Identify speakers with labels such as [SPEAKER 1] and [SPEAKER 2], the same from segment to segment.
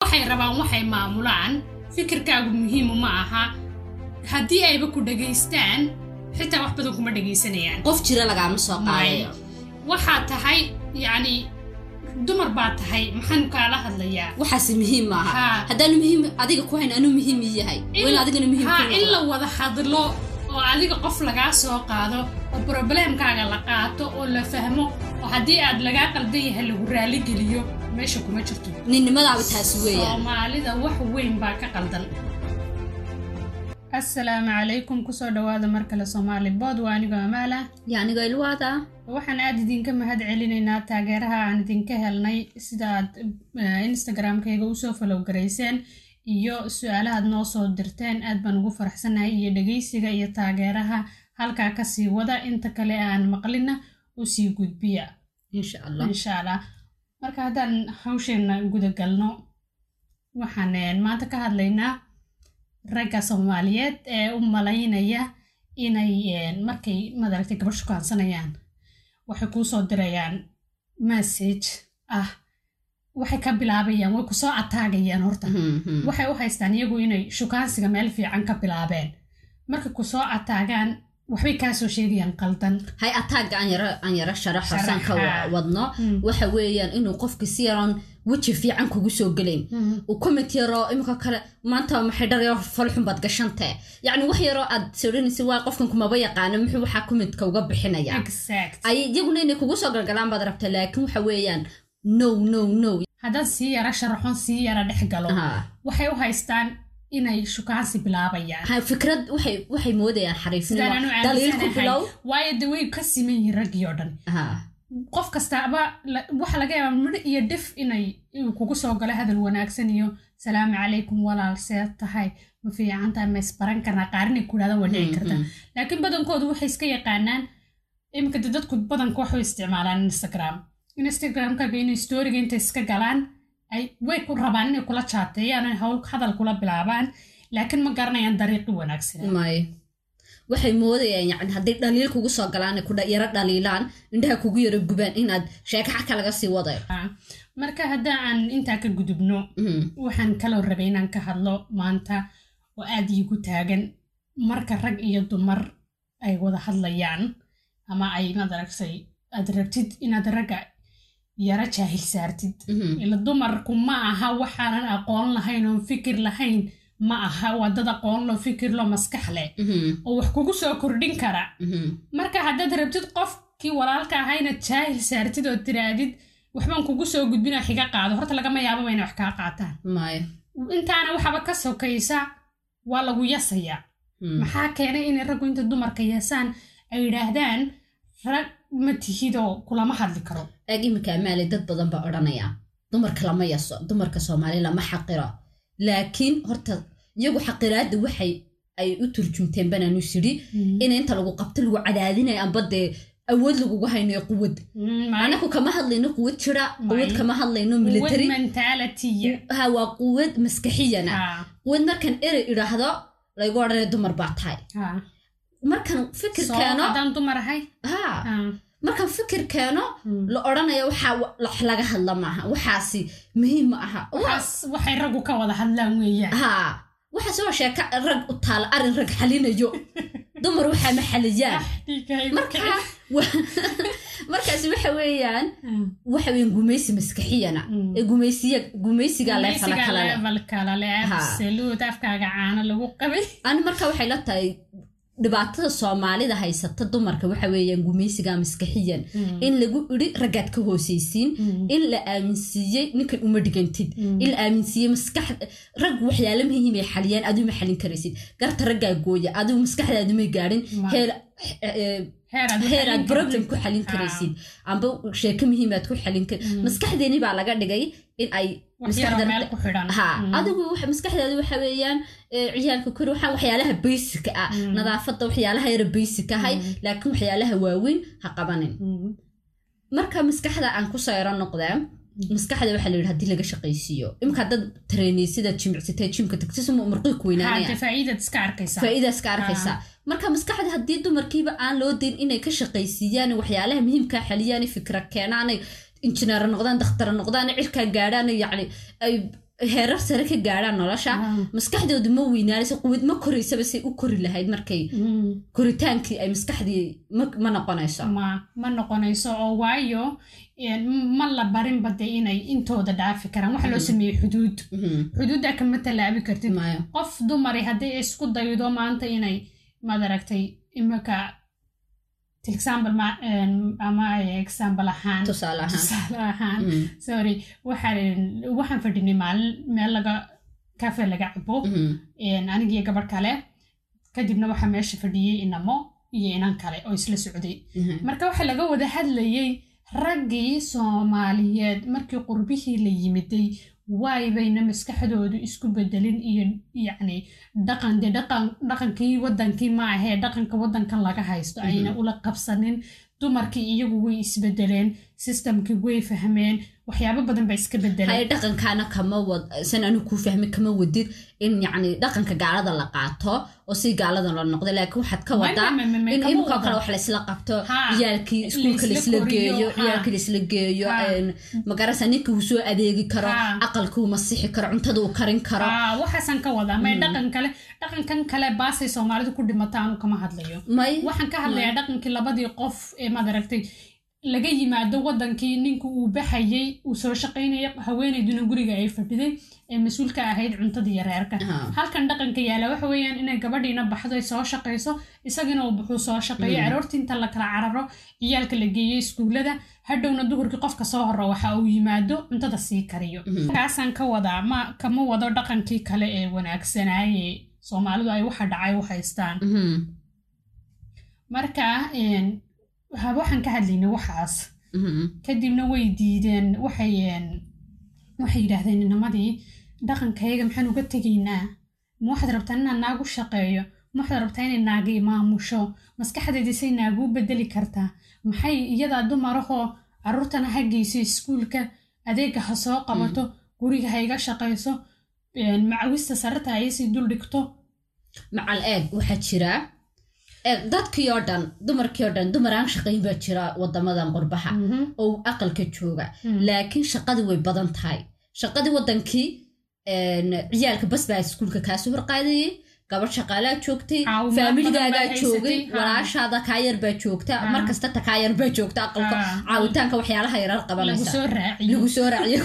[SPEAKER 1] waxay rabaan waxay maamulaan fikirkaagu muhiimu ma aha haddii ayba ku dhagaystaan xitaa wax badan kuma dhagaysanayaan
[SPEAKER 2] qof jira lagaama soo qaadayo
[SPEAKER 1] waxaa tahay yacni dumar baa tahay maxaan kaala hadlayaa
[SPEAKER 2] waxaasi muhiim maaha
[SPEAKER 1] Haa.
[SPEAKER 2] haddaanu muhiim adiga ku hayn anuu muhiim ii yahay waa in adigana muhiim
[SPEAKER 1] haa
[SPEAKER 2] kuu
[SPEAKER 1] in la
[SPEAKER 2] noqdo.
[SPEAKER 1] wada hadlo oo adiga qof lagaa soo qaado oo probleemkaaga la qaato oo la fahmo oo haddii aad lagaa qaldan yahay lagu raaligeliyo meesha kuma jirto
[SPEAKER 2] ninnimadaaba taasi weeyaan
[SPEAKER 1] soomaalida wax weyn baa ka qaldan asalaamu calaykum kusoo dhowaada mar kale soomaali bod waa anigoo amaalah
[SPEAKER 2] yaniga ilwaada
[SPEAKER 1] waxaan aada idinka mahad celinaynaa taageeraha aan idinka helnay sida aad eh, instagram-kayga usoo falow garayseen iyo su-aalahaad noo soo dirteen aad baan ugu faraxsanahay iyo dhegeysiga iyo taageeraha halkaa kasii wada inta kale aan maqlina usii gudbiya
[SPEAKER 2] insha allah
[SPEAKER 1] insha allah marka haddaan hawsheenna gudagalno waxaan eh, maanta ka hadlaynaa ragga soomaaliyeed ee u malaynaya inay eh, markay madaragtay gabadh shukaansanayaan waxay kuu soo dirayaan message ah waxay ka bilaabayaan way kusoo ataagayaan horta
[SPEAKER 2] Mhm.
[SPEAKER 1] waxay u haystaan iyagu inay shukaansiga meel fiican ka bilaabeen markay kusoo ataagaan waxbay kaasoo sheegayaan qaldan
[SPEAKER 2] hay ataagga aan yaro aan yaro sharaxo saan ka
[SPEAKER 1] Sharaxa.
[SPEAKER 2] wadno
[SPEAKER 1] Mm.
[SPEAKER 2] waxa weeyaan inuu qofka si yaroon weji fiican kugu soo gelayn uu comment yaroo imika kale maanta maxay dhar yar falxun baad gashantee yacni wax yaroo aad sawrinaysa waa qofkan kumaba yaqaana muxuu waxaa commentka uga bixinaya
[SPEAKER 1] exact
[SPEAKER 2] ay iyaguna inay kugu soo gargalaan baad rabta laakiin waxa weeyaan no no no
[SPEAKER 1] haddaan sii yara sharaxoon sii yara dhex galo
[SPEAKER 2] Aha.
[SPEAKER 1] waxay u haystaan inay shukaansi bilaabayaan
[SPEAKER 2] Ha, fikrad waxay waxay moodayaan xariifnimo
[SPEAKER 1] sidaan anu
[SPEAKER 2] daliilku
[SPEAKER 1] aaminsanahay
[SPEAKER 2] bilow
[SPEAKER 1] waayo de way ka siman yihiin raggii oo dhan
[SPEAKER 2] Aha.
[SPEAKER 1] qof kastaaba la- waxa laga yaabaa midho iyo dhif inay inuu kugu soo galo hadal wanaagsan iyo salaamu calaykum walaal see tahay ma fiican tahay ma isbaran karnaa qaarinay ku dhahda waa dhici karta
[SPEAKER 2] Mm,
[SPEAKER 1] laakiin badankoodu waxay iska yaqaanaan iminka de dadku badanka waxay isticmaalaan instagram instagramkaaga inay storiga intay iska galaan ay way ku rabaan inay kula jaateeyaan ay hawl hadal kula bilaabaan laakiin ma garanayaan dariiqi wanaagsan
[SPEAKER 2] mm. may waxay moodayaan yani hadday dhaliil kugu soo galaan ku yaro dhaliilaan indhaha kugu yaro gubaan inaad sheeko xaka laga sii wadayo
[SPEAKER 1] marka hadda aan intaa ka gudubno
[SPEAKER 2] Mhm.
[SPEAKER 1] waxaan kaloo rabay inaan ka hadlo maanta oo aad iigu taagan marka rag iyo dumar ay wada hadlayaan ama ay madaragsay aad rabtid inaad ragga yara jaahil saartid
[SPEAKER 2] Mhm.
[SPEAKER 1] ila dumarku ma aha waxaanan aqoon lahayn oon fikir lahayn ma aha waa dad aqoon loo fikir loo maskax leh
[SPEAKER 2] Mhm.
[SPEAKER 1] oo wax kugu soo kordhin kara
[SPEAKER 2] Mhm.
[SPEAKER 1] marka haddaad rabtid qofkii walaalka ahaa inaad jaahil saartid oo tiraadid waxbaan kugu soo gudbinaa xiga qaado horta lagama yaababa inay wax kaa qaataan
[SPEAKER 2] may
[SPEAKER 1] intaana waxaba ka sokaysa waa lagu yasayaa
[SPEAKER 2] Mhm.
[SPEAKER 1] maxaa keenay inay raggu inta dumarka yeesaan ay yidhaahdaan rag ma tihidoo kulama hadli karo
[SPEAKER 2] eeg iminka amaale dad badan baa odhanaya dumarka lama yaso dumarka soomaali lama xaqiro laakiin horta iyagu xaqiraadda waxay ay u turjumteen banaan u siri in inta lagu qabto lagu cadaadinayo amba dee awood lagugu haynayo quwad
[SPEAKER 1] Mm, maalinta
[SPEAKER 2] anagu kama hadlayno quwad jira quwad
[SPEAKER 1] May.
[SPEAKER 2] kama hadlayno
[SPEAKER 1] Wed
[SPEAKER 2] military
[SPEAKER 1] mentaalitiya
[SPEAKER 2] ha waa quwad maskaxiyana quwad markan erey idhaahdo laygu odhanaya dumar baa tahay markan fikir keeno
[SPEAKER 1] haddaan dumar ahay
[SPEAKER 2] ha
[SPEAKER 1] Ah.
[SPEAKER 2] markan fikir keeno
[SPEAKER 1] Mm.
[SPEAKER 2] la odhanaya waxaa wax laga hadla maaha waxaasi muhiim ma aha Wa-
[SPEAKER 1] Waxaas waxay raggu ka wada hadlaan weeyaan
[SPEAKER 2] haa waxaasi waa sheeka rag u taala arrin rag xalinayo dumar waxaa ma xaliyaan
[SPEAKER 1] Dhiigaygu
[SPEAKER 2] marka
[SPEAKER 1] kicin.
[SPEAKER 2] wa- markaasi waxa weeyaan waxa weeyaan gumaysi maskaxiyana
[SPEAKER 1] Mm.
[SPEAKER 2] ee gumaysiya gumaysigaa leefala
[SPEAKER 1] Gumaysiga
[SPEAKER 2] kale leh.
[SPEAKER 1] level kale leh,
[SPEAKER 2] Ha.
[SPEAKER 1] absolute, afkaaga caano lagu qabay
[SPEAKER 2] ani marka waxay la tahay dhibaatada soomaalida haysata dumarka waxa weeyaan gumaysigaa maskaxiyan in lagu idhi raggaad ka hoosaysiin in la aaminsiiyey ninkan uma dhigantid
[SPEAKER 1] Mm.
[SPEAKER 2] in la aaminsiiyey maskax rag waxyaala muhiim ay xaliyaan adigu ma xalin karaysid garta raggaa gooya adigu maskaxdaadu may gaadhin
[SPEAKER 1] Ma-
[SPEAKER 2] heel eh,
[SPEAKER 1] Heeraad
[SPEAKER 2] heer aad
[SPEAKER 1] waxay
[SPEAKER 2] problem
[SPEAKER 1] kartid.
[SPEAKER 2] ku xalin
[SPEAKER 1] Ha.
[SPEAKER 2] karaysid amba sheeko muhiim aad ku xalin kar
[SPEAKER 1] Mm.
[SPEAKER 2] maskaxdeeni baa laga dhigay in ay
[SPEAKER 1] Wax yar oo
[SPEAKER 2] maskaxda-
[SPEAKER 1] meel ku xidhan.
[SPEAKER 2] ha
[SPEAKER 1] Mm.
[SPEAKER 2] adigu waxa- maskaxdaadu waxa weeyaan eh, ciyaalka kori waxaa waxyaalaha basic ah
[SPEAKER 1] Mm.
[SPEAKER 2] nadaafadda waxyaalaha yara basic ahay
[SPEAKER 1] Mm.
[SPEAKER 2] laakiin waxyaalaha waaweyn ha qabanin
[SPEAKER 1] Mm.
[SPEAKER 2] marka maskaxda aan kusoo yaro noqdeen maskaxda waxaa la yidhi haddii laga shaqaysiiyo imka dad tareenaysidaad jimicsatee jimka tagtisuma marqii ku
[SPEAKER 1] Ha,
[SPEAKER 2] weynaanaya
[SPEAKER 1] dee faa'iidaad iska arkaysaa.
[SPEAKER 2] faa'iidaas ka arkaysaa marka maskaxda haddii dumarkiiba aan loo dayn inay ka shaqaysiiyaan waxyaalaha muhiimkaa xaliyaan fikra keenaanay injineer noqdaan daktar noqdaan cirkaa gaadhaan yacni ay heerar sare ka gaadhaan nolosha maskaxdoodu ma weynaanayso quwid ma koraysaba say u kori lahayd markay koritaankii ay maskaxdii ma- ma noqonayso
[SPEAKER 1] ma ma noqonayso oo waayo een, ma la barinba dee inay intooda dhaafi karaan waxa loo
[SPEAKER 2] Mhm.
[SPEAKER 1] sameeyey xuduud
[SPEAKER 2] Mhm.
[SPEAKER 1] xuduudda kama tallaabi kartid
[SPEAKER 2] maayo
[SPEAKER 1] qof dumari haddii ay isku daydo maanta inay maad aragtay iminka example ma een, ama example ahaan
[SPEAKER 2] tusaale ahaan
[SPEAKER 1] tusaale ahaan
[SPEAKER 2] Mhm.
[SPEAKER 1] sorry waxaan waxaan fadhinay maalin meel laga kafe laga cabo
[SPEAKER 2] Mhm.
[SPEAKER 1] een, aniga iyo gabarh kale kadibna waxaa meesha fadhiyey inamo iyo inan kale oo isla socday
[SPEAKER 2] Mhm.
[SPEAKER 1] marka waxaa laga wada hadlayey raggii soomaaliyeed markii qurbihii la yimiday waay bayna maskaxdoodu isku bedelin iyo yacni dhaqan dee dhaqan dhaqankii wadankii ma ahee dhaqanka wadankan laga haysto ayna ula qabsanin dumarkii iyagu way isbedeleen systemkii way fahmeen waxyaabo badan baa iska bedeleen
[SPEAKER 2] haye dhaqankaana kama wad san anigu kuu fahmin kama wadid in yacni dhaqanka gaalada la qaato oo si gaalada la noqdo laakiin waxaad ka wadaa
[SPEAKER 1] Ma- ma- ma- ma-
[SPEAKER 2] in
[SPEAKER 1] kama
[SPEAKER 2] imikoo kale
[SPEAKER 1] wada.
[SPEAKER 2] wax laysla qabto
[SPEAKER 1] Ha.
[SPEAKER 2] ciyaalkii iskuulka
[SPEAKER 1] Laysla
[SPEAKER 2] laysla
[SPEAKER 1] koriyo,
[SPEAKER 2] geeyo
[SPEAKER 1] ha.
[SPEAKER 2] ciyaalkii laysla geeyo
[SPEAKER 1] Ha.
[SPEAKER 2] een, magarasa ninka uu soo adeegi karo
[SPEAKER 1] Ha.
[SPEAKER 2] aqalka uu masixi karo cuntada uu karin karo
[SPEAKER 1] Ah, waxaasan ka wadaa may dhaqan kale dhaqankan kale baasay soomaalidu ku dhimataan kama hadlayo
[SPEAKER 2] may
[SPEAKER 1] waxaan ka hadlayaa dhaqankii labadii qof ee maad aragtay laga yimaado wadankii ninku uu baxayey uu soo shaqaynaya haweenayduna guriga ay fadhiday ee mas-uulka ahayd cuntada iyo reerka
[SPEAKER 2] Ha.
[SPEAKER 1] halkan dhaqanka yaala waxa weeyaan inay gabadhiina baxdo ay soo shaqayso isagana uu baxuu soo shaqeeyo
[SPEAKER 2] Mm.
[SPEAKER 1] caroortii inta la kala cararo ciyaalka la geeyo iskuullada hadhowna duhurkii qofka soo horo waxa uu yimaado cuntada sii kariyo
[SPEAKER 2] Mhm.
[SPEAKER 1] markaasaan ka wadaa ma kama wado dhaqankii kale ee wanaagsanaaye soomaalidu ay waxa dhacay u haystaan
[SPEAKER 2] Mhm.
[SPEAKER 1] marka een, ha- waxaan ka hadlaynay waxaas
[SPEAKER 2] Mhm.
[SPEAKER 1] kadibna way diideen waxay een, waxay yidhaahdeen inamadii dhaqankayga maxaan uga tegaynaa ma waxaad rabtaa inaan naagu shaqeeyo ma waxaad rabtaa inay naaga imaamusho maskaxdeydii say naaguu bedeli kartaa maxay iyadaa dumarahoo caruurtana ha geyso iskuulka adeega ha soo
[SPEAKER 2] Mm.
[SPEAKER 1] qabato guriga ha iga shaqayso een, macawista sararta ha isii dul dhigto
[SPEAKER 2] macal eeg waxaa jira eeg dadkii oo dhan dumarkii oo dhan dumar aan shaqayn baa jira wadamadan qurbaha oo aqalka jooga
[SPEAKER 1] Hmm.
[SPEAKER 2] laakiin shaqadii way badan tahay shaqadii wadankii een, ciyaalka bas baa iskuulka kaasoo horqaadayay gabadh shaqaalaa joogtay
[SPEAKER 1] Caawimaad badan
[SPEAKER 2] faamiligaagaa
[SPEAKER 1] baa
[SPEAKER 2] joogay
[SPEAKER 1] haysatay, haa.
[SPEAKER 2] walaashaada kaayar baa joogta
[SPEAKER 1] Haa.
[SPEAKER 2] markasta takaayar baa joogta aqalka
[SPEAKER 1] Haa.
[SPEAKER 2] caawitaanka waxyaalaha yarar
[SPEAKER 1] Ah, lagu
[SPEAKER 2] qabanaysa
[SPEAKER 1] soo raaciyo
[SPEAKER 2] lagu soo raaciyo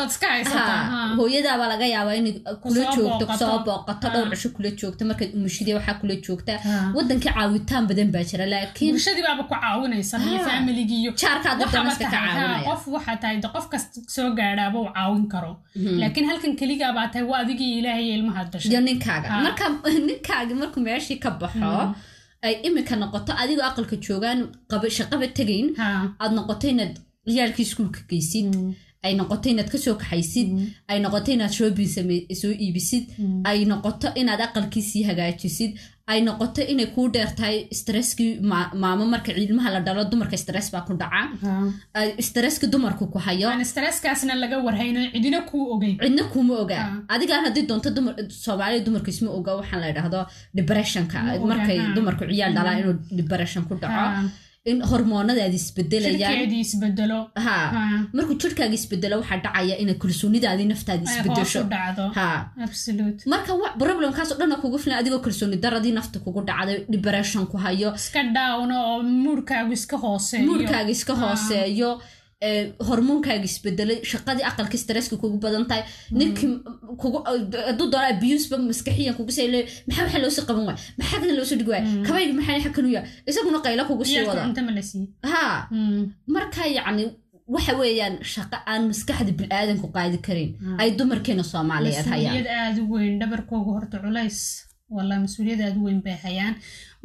[SPEAKER 1] ood iska haysataa
[SPEAKER 2] haa
[SPEAKER 1] haa.
[SPEAKER 2] hooyadaabaa laga yaabaa inay kula
[SPEAKER 1] Kusoo
[SPEAKER 2] joogto
[SPEAKER 1] booqato.
[SPEAKER 2] kusoo booqato dhowr
[SPEAKER 1] Haa.
[SPEAKER 2] cisho kula joogta markaad umashidee waxaa kula joogta
[SPEAKER 1] Haa.
[SPEAKER 2] wadankii caawitaan badan baa jira laakiin
[SPEAKER 1] bulshadii baaba ku caawinaysa iyo
[SPEAKER 2] Haa.
[SPEAKER 1] faamiligi iyo
[SPEAKER 2] jaarkaad
[SPEAKER 1] waxaaba
[SPEAKER 2] dadanaska ka
[SPEAKER 1] tahay, haa,
[SPEAKER 2] caawinaya
[SPEAKER 1] qof waxaa tahay de qof kasta soo gaadhaaba uu caawin karo
[SPEAKER 2] Mhm.
[SPEAKER 1] laakiin halkan keligaabaa tahay waa adigii ilaahay iyo ilmahaad
[SPEAKER 2] iyo
[SPEAKER 1] dhashay
[SPEAKER 2] ninkaaga
[SPEAKER 1] Ah.
[SPEAKER 2] marka ninkaaga markuu meeshii ka baxo ay imika noqoto adigoo aqalka joogaan qaba- shaqaba tegayn
[SPEAKER 1] haa
[SPEAKER 2] aad noqoto inaad ciyaalkii iskuulka geysid
[SPEAKER 1] Hmm.
[SPEAKER 2] ay noqoto inaad kasoo kaxaysid ay noqoto inaad shoobin same- soo iibisid
[SPEAKER 1] Mm.
[SPEAKER 2] ay noqoto inaad aqalkii sii hagaajisid ay noqoto inay kuu dheer tahay stresskii ma- maamo marka ciilmaha la dhalo dumarka stress baa ku dhaca
[SPEAKER 1] haa.
[SPEAKER 2] ay- stresski dumarku ku hayo
[SPEAKER 1] aan stresskaasna laga warhayno cidina kuu ogeyn
[SPEAKER 2] cidna kuma ogaa
[SPEAKER 1] Ah.
[SPEAKER 2] adigaan haddii doonto dumar soomaalida dumarka isma oga waxaan la idhaahdo depressionka
[SPEAKER 1] Ma oga,
[SPEAKER 2] markay
[SPEAKER 1] ha.
[SPEAKER 2] dumarku ciyaal dhalaa
[SPEAKER 1] Mm.
[SPEAKER 2] inuu depression ku dhaco
[SPEAKER 1] Haa.
[SPEAKER 2] in hormoonadaadi isbedelayaan
[SPEAKER 1] jirkeedii isbedelo
[SPEAKER 2] ha
[SPEAKER 1] haa.
[SPEAKER 2] markuu jirkaaga isbedelo waxaa dhacaya inay kalsoonidaadii naftaadi
[SPEAKER 1] ay hoos
[SPEAKER 2] isbedesho
[SPEAKER 1] u dhacdo
[SPEAKER 2] ha
[SPEAKER 1] absolute
[SPEAKER 2] marka wa- problemkaas oo dhan oo kugu filan adigoo kalsooni daradii nafta kugu dhacday depression ku hayo
[SPEAKER 1] iska dhaawno oo muurkaagu iska hooseeyo
[SPEAKER 2] muurkaaga iska
[SPEAKER 1] Ha. ah.
[SPEAKER 2] hooseeyo ee, hormoonkaaga isbedelay shaqadii aqalka stresska kugu badan tahay
[SPEAKER 1] Mm.
[SPEAKER 2] ninkii m- kugu hadduu doono abuseba maskaxiyan kugu sii leeyo maxaa waxa loosii qaban waay maxaa kan loosoo dhigi waay
[SPEAKER 1] Mm.
[SPEAKER 2] kabayga maxaa xag kanu yaa isaguna qaylo kugu sii
[SPEAKER 1] ciyaalka
[SPEAKER 2] wada
[SPEAKER 1] cunto ma la siiyo
[SPEAKER 2] haa
[SPEAKER 1] Mm.
[SPEAKER 2] marka yacni waxa weeyaan shaqa aan maskaxda bilaadanku qaadi karin
[SPEAKER 1] Mm.
[SPEAKER 2] ay dumarkeena soomaaliyeed hayaan
[SPEAKER 1] mas-uuliyad aad u weyn dhabarkooga horta culays walaa mas-uuliyad aad u weyn bay hayaan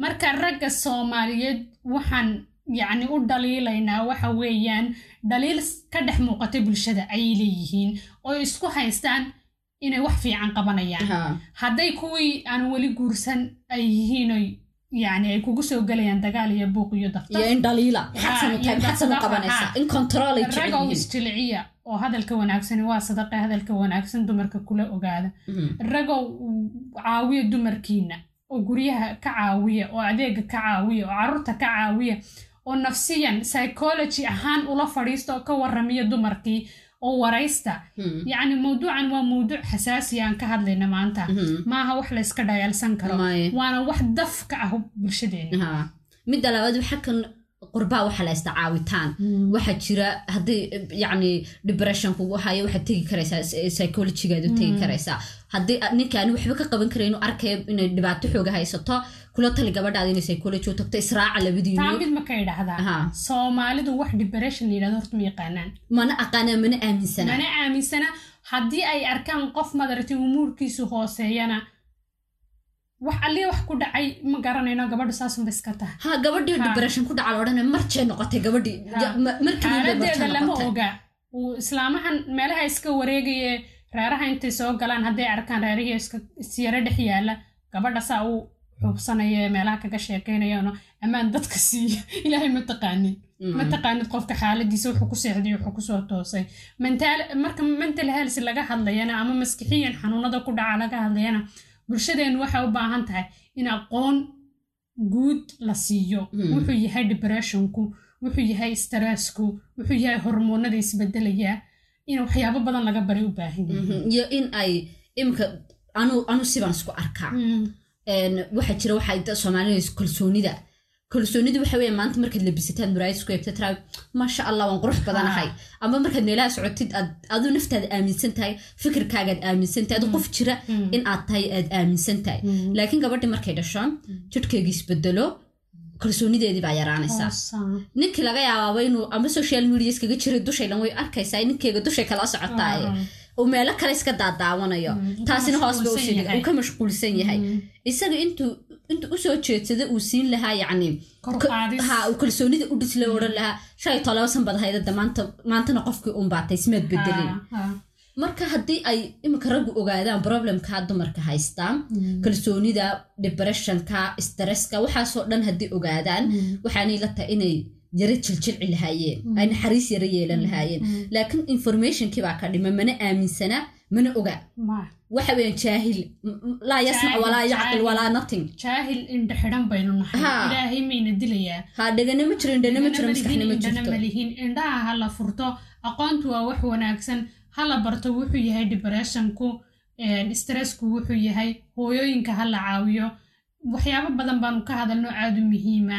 [SPEAKER 1] marka ragga soomaaliyeed waxaan yacni u dhaliilaynaa waxa weeyaan dhaliil s- ka dhex muuqata bulshada ayay leeyihiin oo isku haystaan inay wax fiican qabanayaan
[SPEAKER 2] Haa.
[SPEAKER 1] hadday kuwii aan weli guursan ay yihiin oy yacni ay kugu soo gelayaan dagaal iyo buuq iyo daftar
[SPEAKER 2] iyo in dhaliila
[SPEAKER 1] Haa, iyo
[SPEAKER 2] xagsanu
[SPEAKER 1] dhaqdhaqaaqa,
[SPEAKER 2] qabanaysa
[SPEAKER 1] haa.
[SPEAKER 2] in control ay jecel
[SPEAKER 1] ragga oo
[SPEAKER 2] yihiin
[SPEAKER 1] isjilciya oo hadalka wanaagsani waa sadaqa hadalka wanaagsan dumarka kula ogaada
[SPEAKER 2] Mhm.
[SPEAKER 1] ragow caawiya dumarkiina oo guryaha ka caawiya oo adeega ka caawiya oo caruurta ka caawiya oo nafsiyan psychology ahaan ula fadhiista oo ka waramiya dumarkii oo oo waraysta
[SPEAKER 2] Mhm.
[SPEAKER 1] yacni mawduucan waa mawduuc xasaasi aan ka hadlayna maanta
[SPEAKER 2] Mhm.
[SPEAKER 1] maaha wax la iska dhayalsan karo
[SPEAKER 2] Maaye.
[SPEAKER 1] waana wax daf ka ah bulshadeena
[SPEAKER 2] Haa. midda labaad waxa kan qurbaa waxa la haysta caawitaan waxaa jira haddii yacni depression kugu hayo waxaad tegi karaysaa psychologigaadu
[SPEAKER 1] Mm.
[SPEAKER 2] tegi karaysaa haddii aad- ninkaani waxba ka qaban karayn uu arkayo inay dhibaato xooga haysato kula tali gabadhaada inay psychology u tagto israaca
[SPEAKER 1] taa
[SPEAKER 2] labadiinu
[SPEAKER 1] mid marka idhahdaa
[SPEAKER 2] Aha.
[SPEAKER 1] soomaalidu wax deberession la yidhahdo horta ma yaqaanaan
[SPEAKER 2] mana aqaanaa mana aaminsana
[SPEAKER 1] mana aaminsana haddii ay arkaan qof madartin umuurkiisu hooseeyana wax alliya wax ku dhacay ma garanayno gabadhu saasunba iska tahay
[SPEAKER 2] ha gabadhii
[SPEAKER 1] Haa.
[SPEAKER 2] depression ku dhaca la odhanaya marjay noqotay gabadhii
[SPEAKER 1] Haa.
[SPEAKER 2] Ja- ma- markii ugu horreysay
[SPEAKER 1] xaaladeeda
[SPEAKER 2] marjay
[SPEAKER 1] lama
[SPEAKER 2] noqotay.
[SPEAKER 1] oga uu islaamahan meelaha iska wareegayee reeraha intay soo galaan hadday arkaan reerihii iska isyaro dhex yaala gabadha saa uu xuubsanaye meelaha kaga sheekaynayaano ammaan dadka siiya ilaahay ma taqaanin
[SPEAKER 2] Mm.
[SPEAKER 1] ma taqaanid qofka xaaladiisa wuxuu ku seexday wuxuu ku soo toosay Mental- marka mental health laga hadlayana ama maskixiyan xanuunada ku dhaca laga hadlayana bulshadeen waxay u baahan tahay in aqoon guud la siiyo
[SPEAKER 2] Mm.
[SPEAKER 1] wuxuu yahay depressionku wuxuu yahay stressku wuxuu yahay hormoonada isbedelaya in waxyaabo badan laga baray u baahan yahay
[SPEAKER 2] Mhm. iyo in ay imika anu anu sibaan isku arkaa
[SPEAKER 1] Mm.
[SPEAKER 2] Een, waxaa jira waxaa inta soomaalida is- kalsoonida kalsoonidu waxa weeye maanta markaad labisataan muraayad isku eegta tiraad maasha allah waan qurux badanahay
[SPEAKER 1] Ah.
[SPEAKER 2] ama markaad meelaha socotid aad aduu naftaada aaminsan tahay fikirkaagaad aaminsan tahay aduu qof jira
[SPEAKER 1] Mm.
[SPEAKER 2] in aad tahay aad aaminsan tahay
[SPEAKER 1] Mm.
[SPEAKER 2] laakiin gabadhii markay dhasho jidhkeygii isbedelo kalsoonideedii baa yaraanaysaa
[SPEAKER 1] Hoosaa.
[SPEAKER 2] ninkii laga yaabaaba inuu ama social media iskaga jiray dushay dhan way arkaysaa ninkeyga dushay kala socotaa
[SPEAKER 1] Mm.
[SPEAKER 2] uu meelo kale iska daadaawanayo
[SPEAKER 1] Mm, uu ka
[SPEAKER 2] taasina hoos ba u
[SPEAKER 1] mashquulsan
[SPEAKER 2] sidhi
[SPEAKER 1] yahay. Mm.
[SPEAKER 2] uu ka mashquulsan yahay isaga intuu intuu usoo jeedsada uu siin lahaa yacni
[SPEAKER 1] Kor u
[SPEAKER 2] ka-
[SPEAKER 1] qaadis.
[SPEAKER 2] ha uu kalsoonida u dhisla odhan lahaa shan iyo todoba san baad haydada maanta maantana qofkii uun baatay ismaad bedelin
[SPEAKER 1] Ah, ah.
[SPEAKER 2] marka haddii ay iminka raggu ogaadaan problemkaa dumarka haystaan
[SPEAKER 1] Mm.
[SPEAKER 2] kalsoonida depressionka stresska waxaasoo dhan haddii ogaadaan
[SPEAKER 1] Mm.
[SPEAKER 2] waxaanay la tahay inay yara jiljilci lahaayeen ay naxariis yara yeelan lahaayeen
[SPEAKER 1] Mm.
[SPEAKER 2] laakiin informationkii baa ka dhima mana aaminsana mana oga
[SPEAKER 1] Ma.
[SPEAKER 2] waxa weeyaan jaahil M- m- laa yasmac
[SPEAKER 1] Jaahil,
[SPEAKER 2] walaa yacqil
[SPEAKER 1] jaahil.
[SPEAKER 2] walaa nothing
[SPEAKER 1] jaahil indhaxidan baynu nahay
[SPEAKER 2] Haa.
[SPEAKER 1] ilaahay mayna dilayaa
[SPEAKER 2] ha dhegana ma jiro indhana ma jiro
[SPEAKER 1] Indhana malihiin,
[SPEAKER 2] maskaxna ma
[SPEAKER 1] indhana
[SPEAKER 2] jirto
[SPEAKER 1] malihiin indhaha ha la furto aqoontu waa wax wanaagsan ha la barto wuxuu yahay depressionku een, stressku wuxuu yahay hooyooyinka ha la caawiyo waxyaabo badan baanu ka hadalno aada u muhiima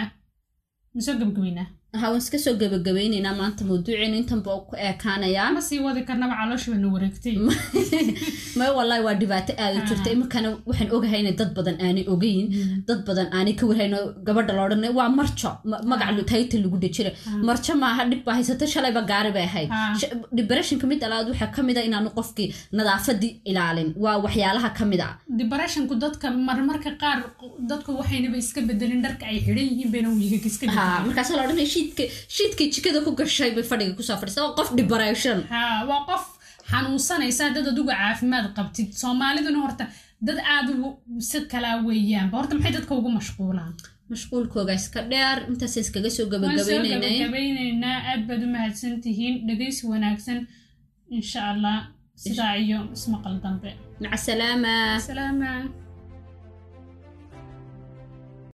[SPEAKER 1] masoo gebgebeynaa
[SPEAKER 2] ha waan iska soo gebagabaynaynaa maanta mawduuceena intan baa ku eekaanayaa
[SPEAKER 1] ma sii wadi karnaba caloosha bayna wareegtay
[SPEAKER 2] may wallahi waa dhibaato aada u jirta
[SPEAKER 1] Ah.
[SPEAKER 2] iminkana waxaan ogahay inay dad badan aanay ogeyn dad badan aanay ka warhayno gabadha loodhan waa marjo ma- magac lu- title lagu dhejira
[SPEAKER 1] Ah.
[SPEAKER 2] marjo maaha dhib baa haysato shalayba gaari bay ahayd
[SPEAKER 1] Ah.
[SPEAKER 2] Sh- depressionka mid alaad waxaa ka mid a inaanu qofkii nadaafadii ilaalin waa waxyaalaha ka mid ah. a
[SPEAKER 1] depressionku dadka marmarka qaar dadku waxaynaba iska bedelin dharka ay xidhan yihiin bayna wejiga iska
[SPEAKER 2] haa
[SPEAKER 1] bedelin
[SPEAKER 2] markaas la odhanaya shiidka shiidkay jikada ku gashay bay fadhiga kusoo fadhiisay waa qof depression
[SPEAKER 1] haa waa qof xanuunsanaysa dad adigu caafimaad qabtid soomaaliduna horta dad aad u- si kalaa weeyaanba horta maxay dadka ugu mashquulaan
[SPEAKER 2] mashquulkooga iska dheer intaasaan iskaga soo
[SPEAKER 1] waan soo
[SPEAKER 2] gabagabeynaynay
[SPEAKER 1] gabagabaynaynaa aad baad u mahadsan tihiin dhegaysi wanaagsan insha allah sidaa iyo ismaqal dambe
[SPEAKER 2] maca salaama
[SPEAKER 1] salaama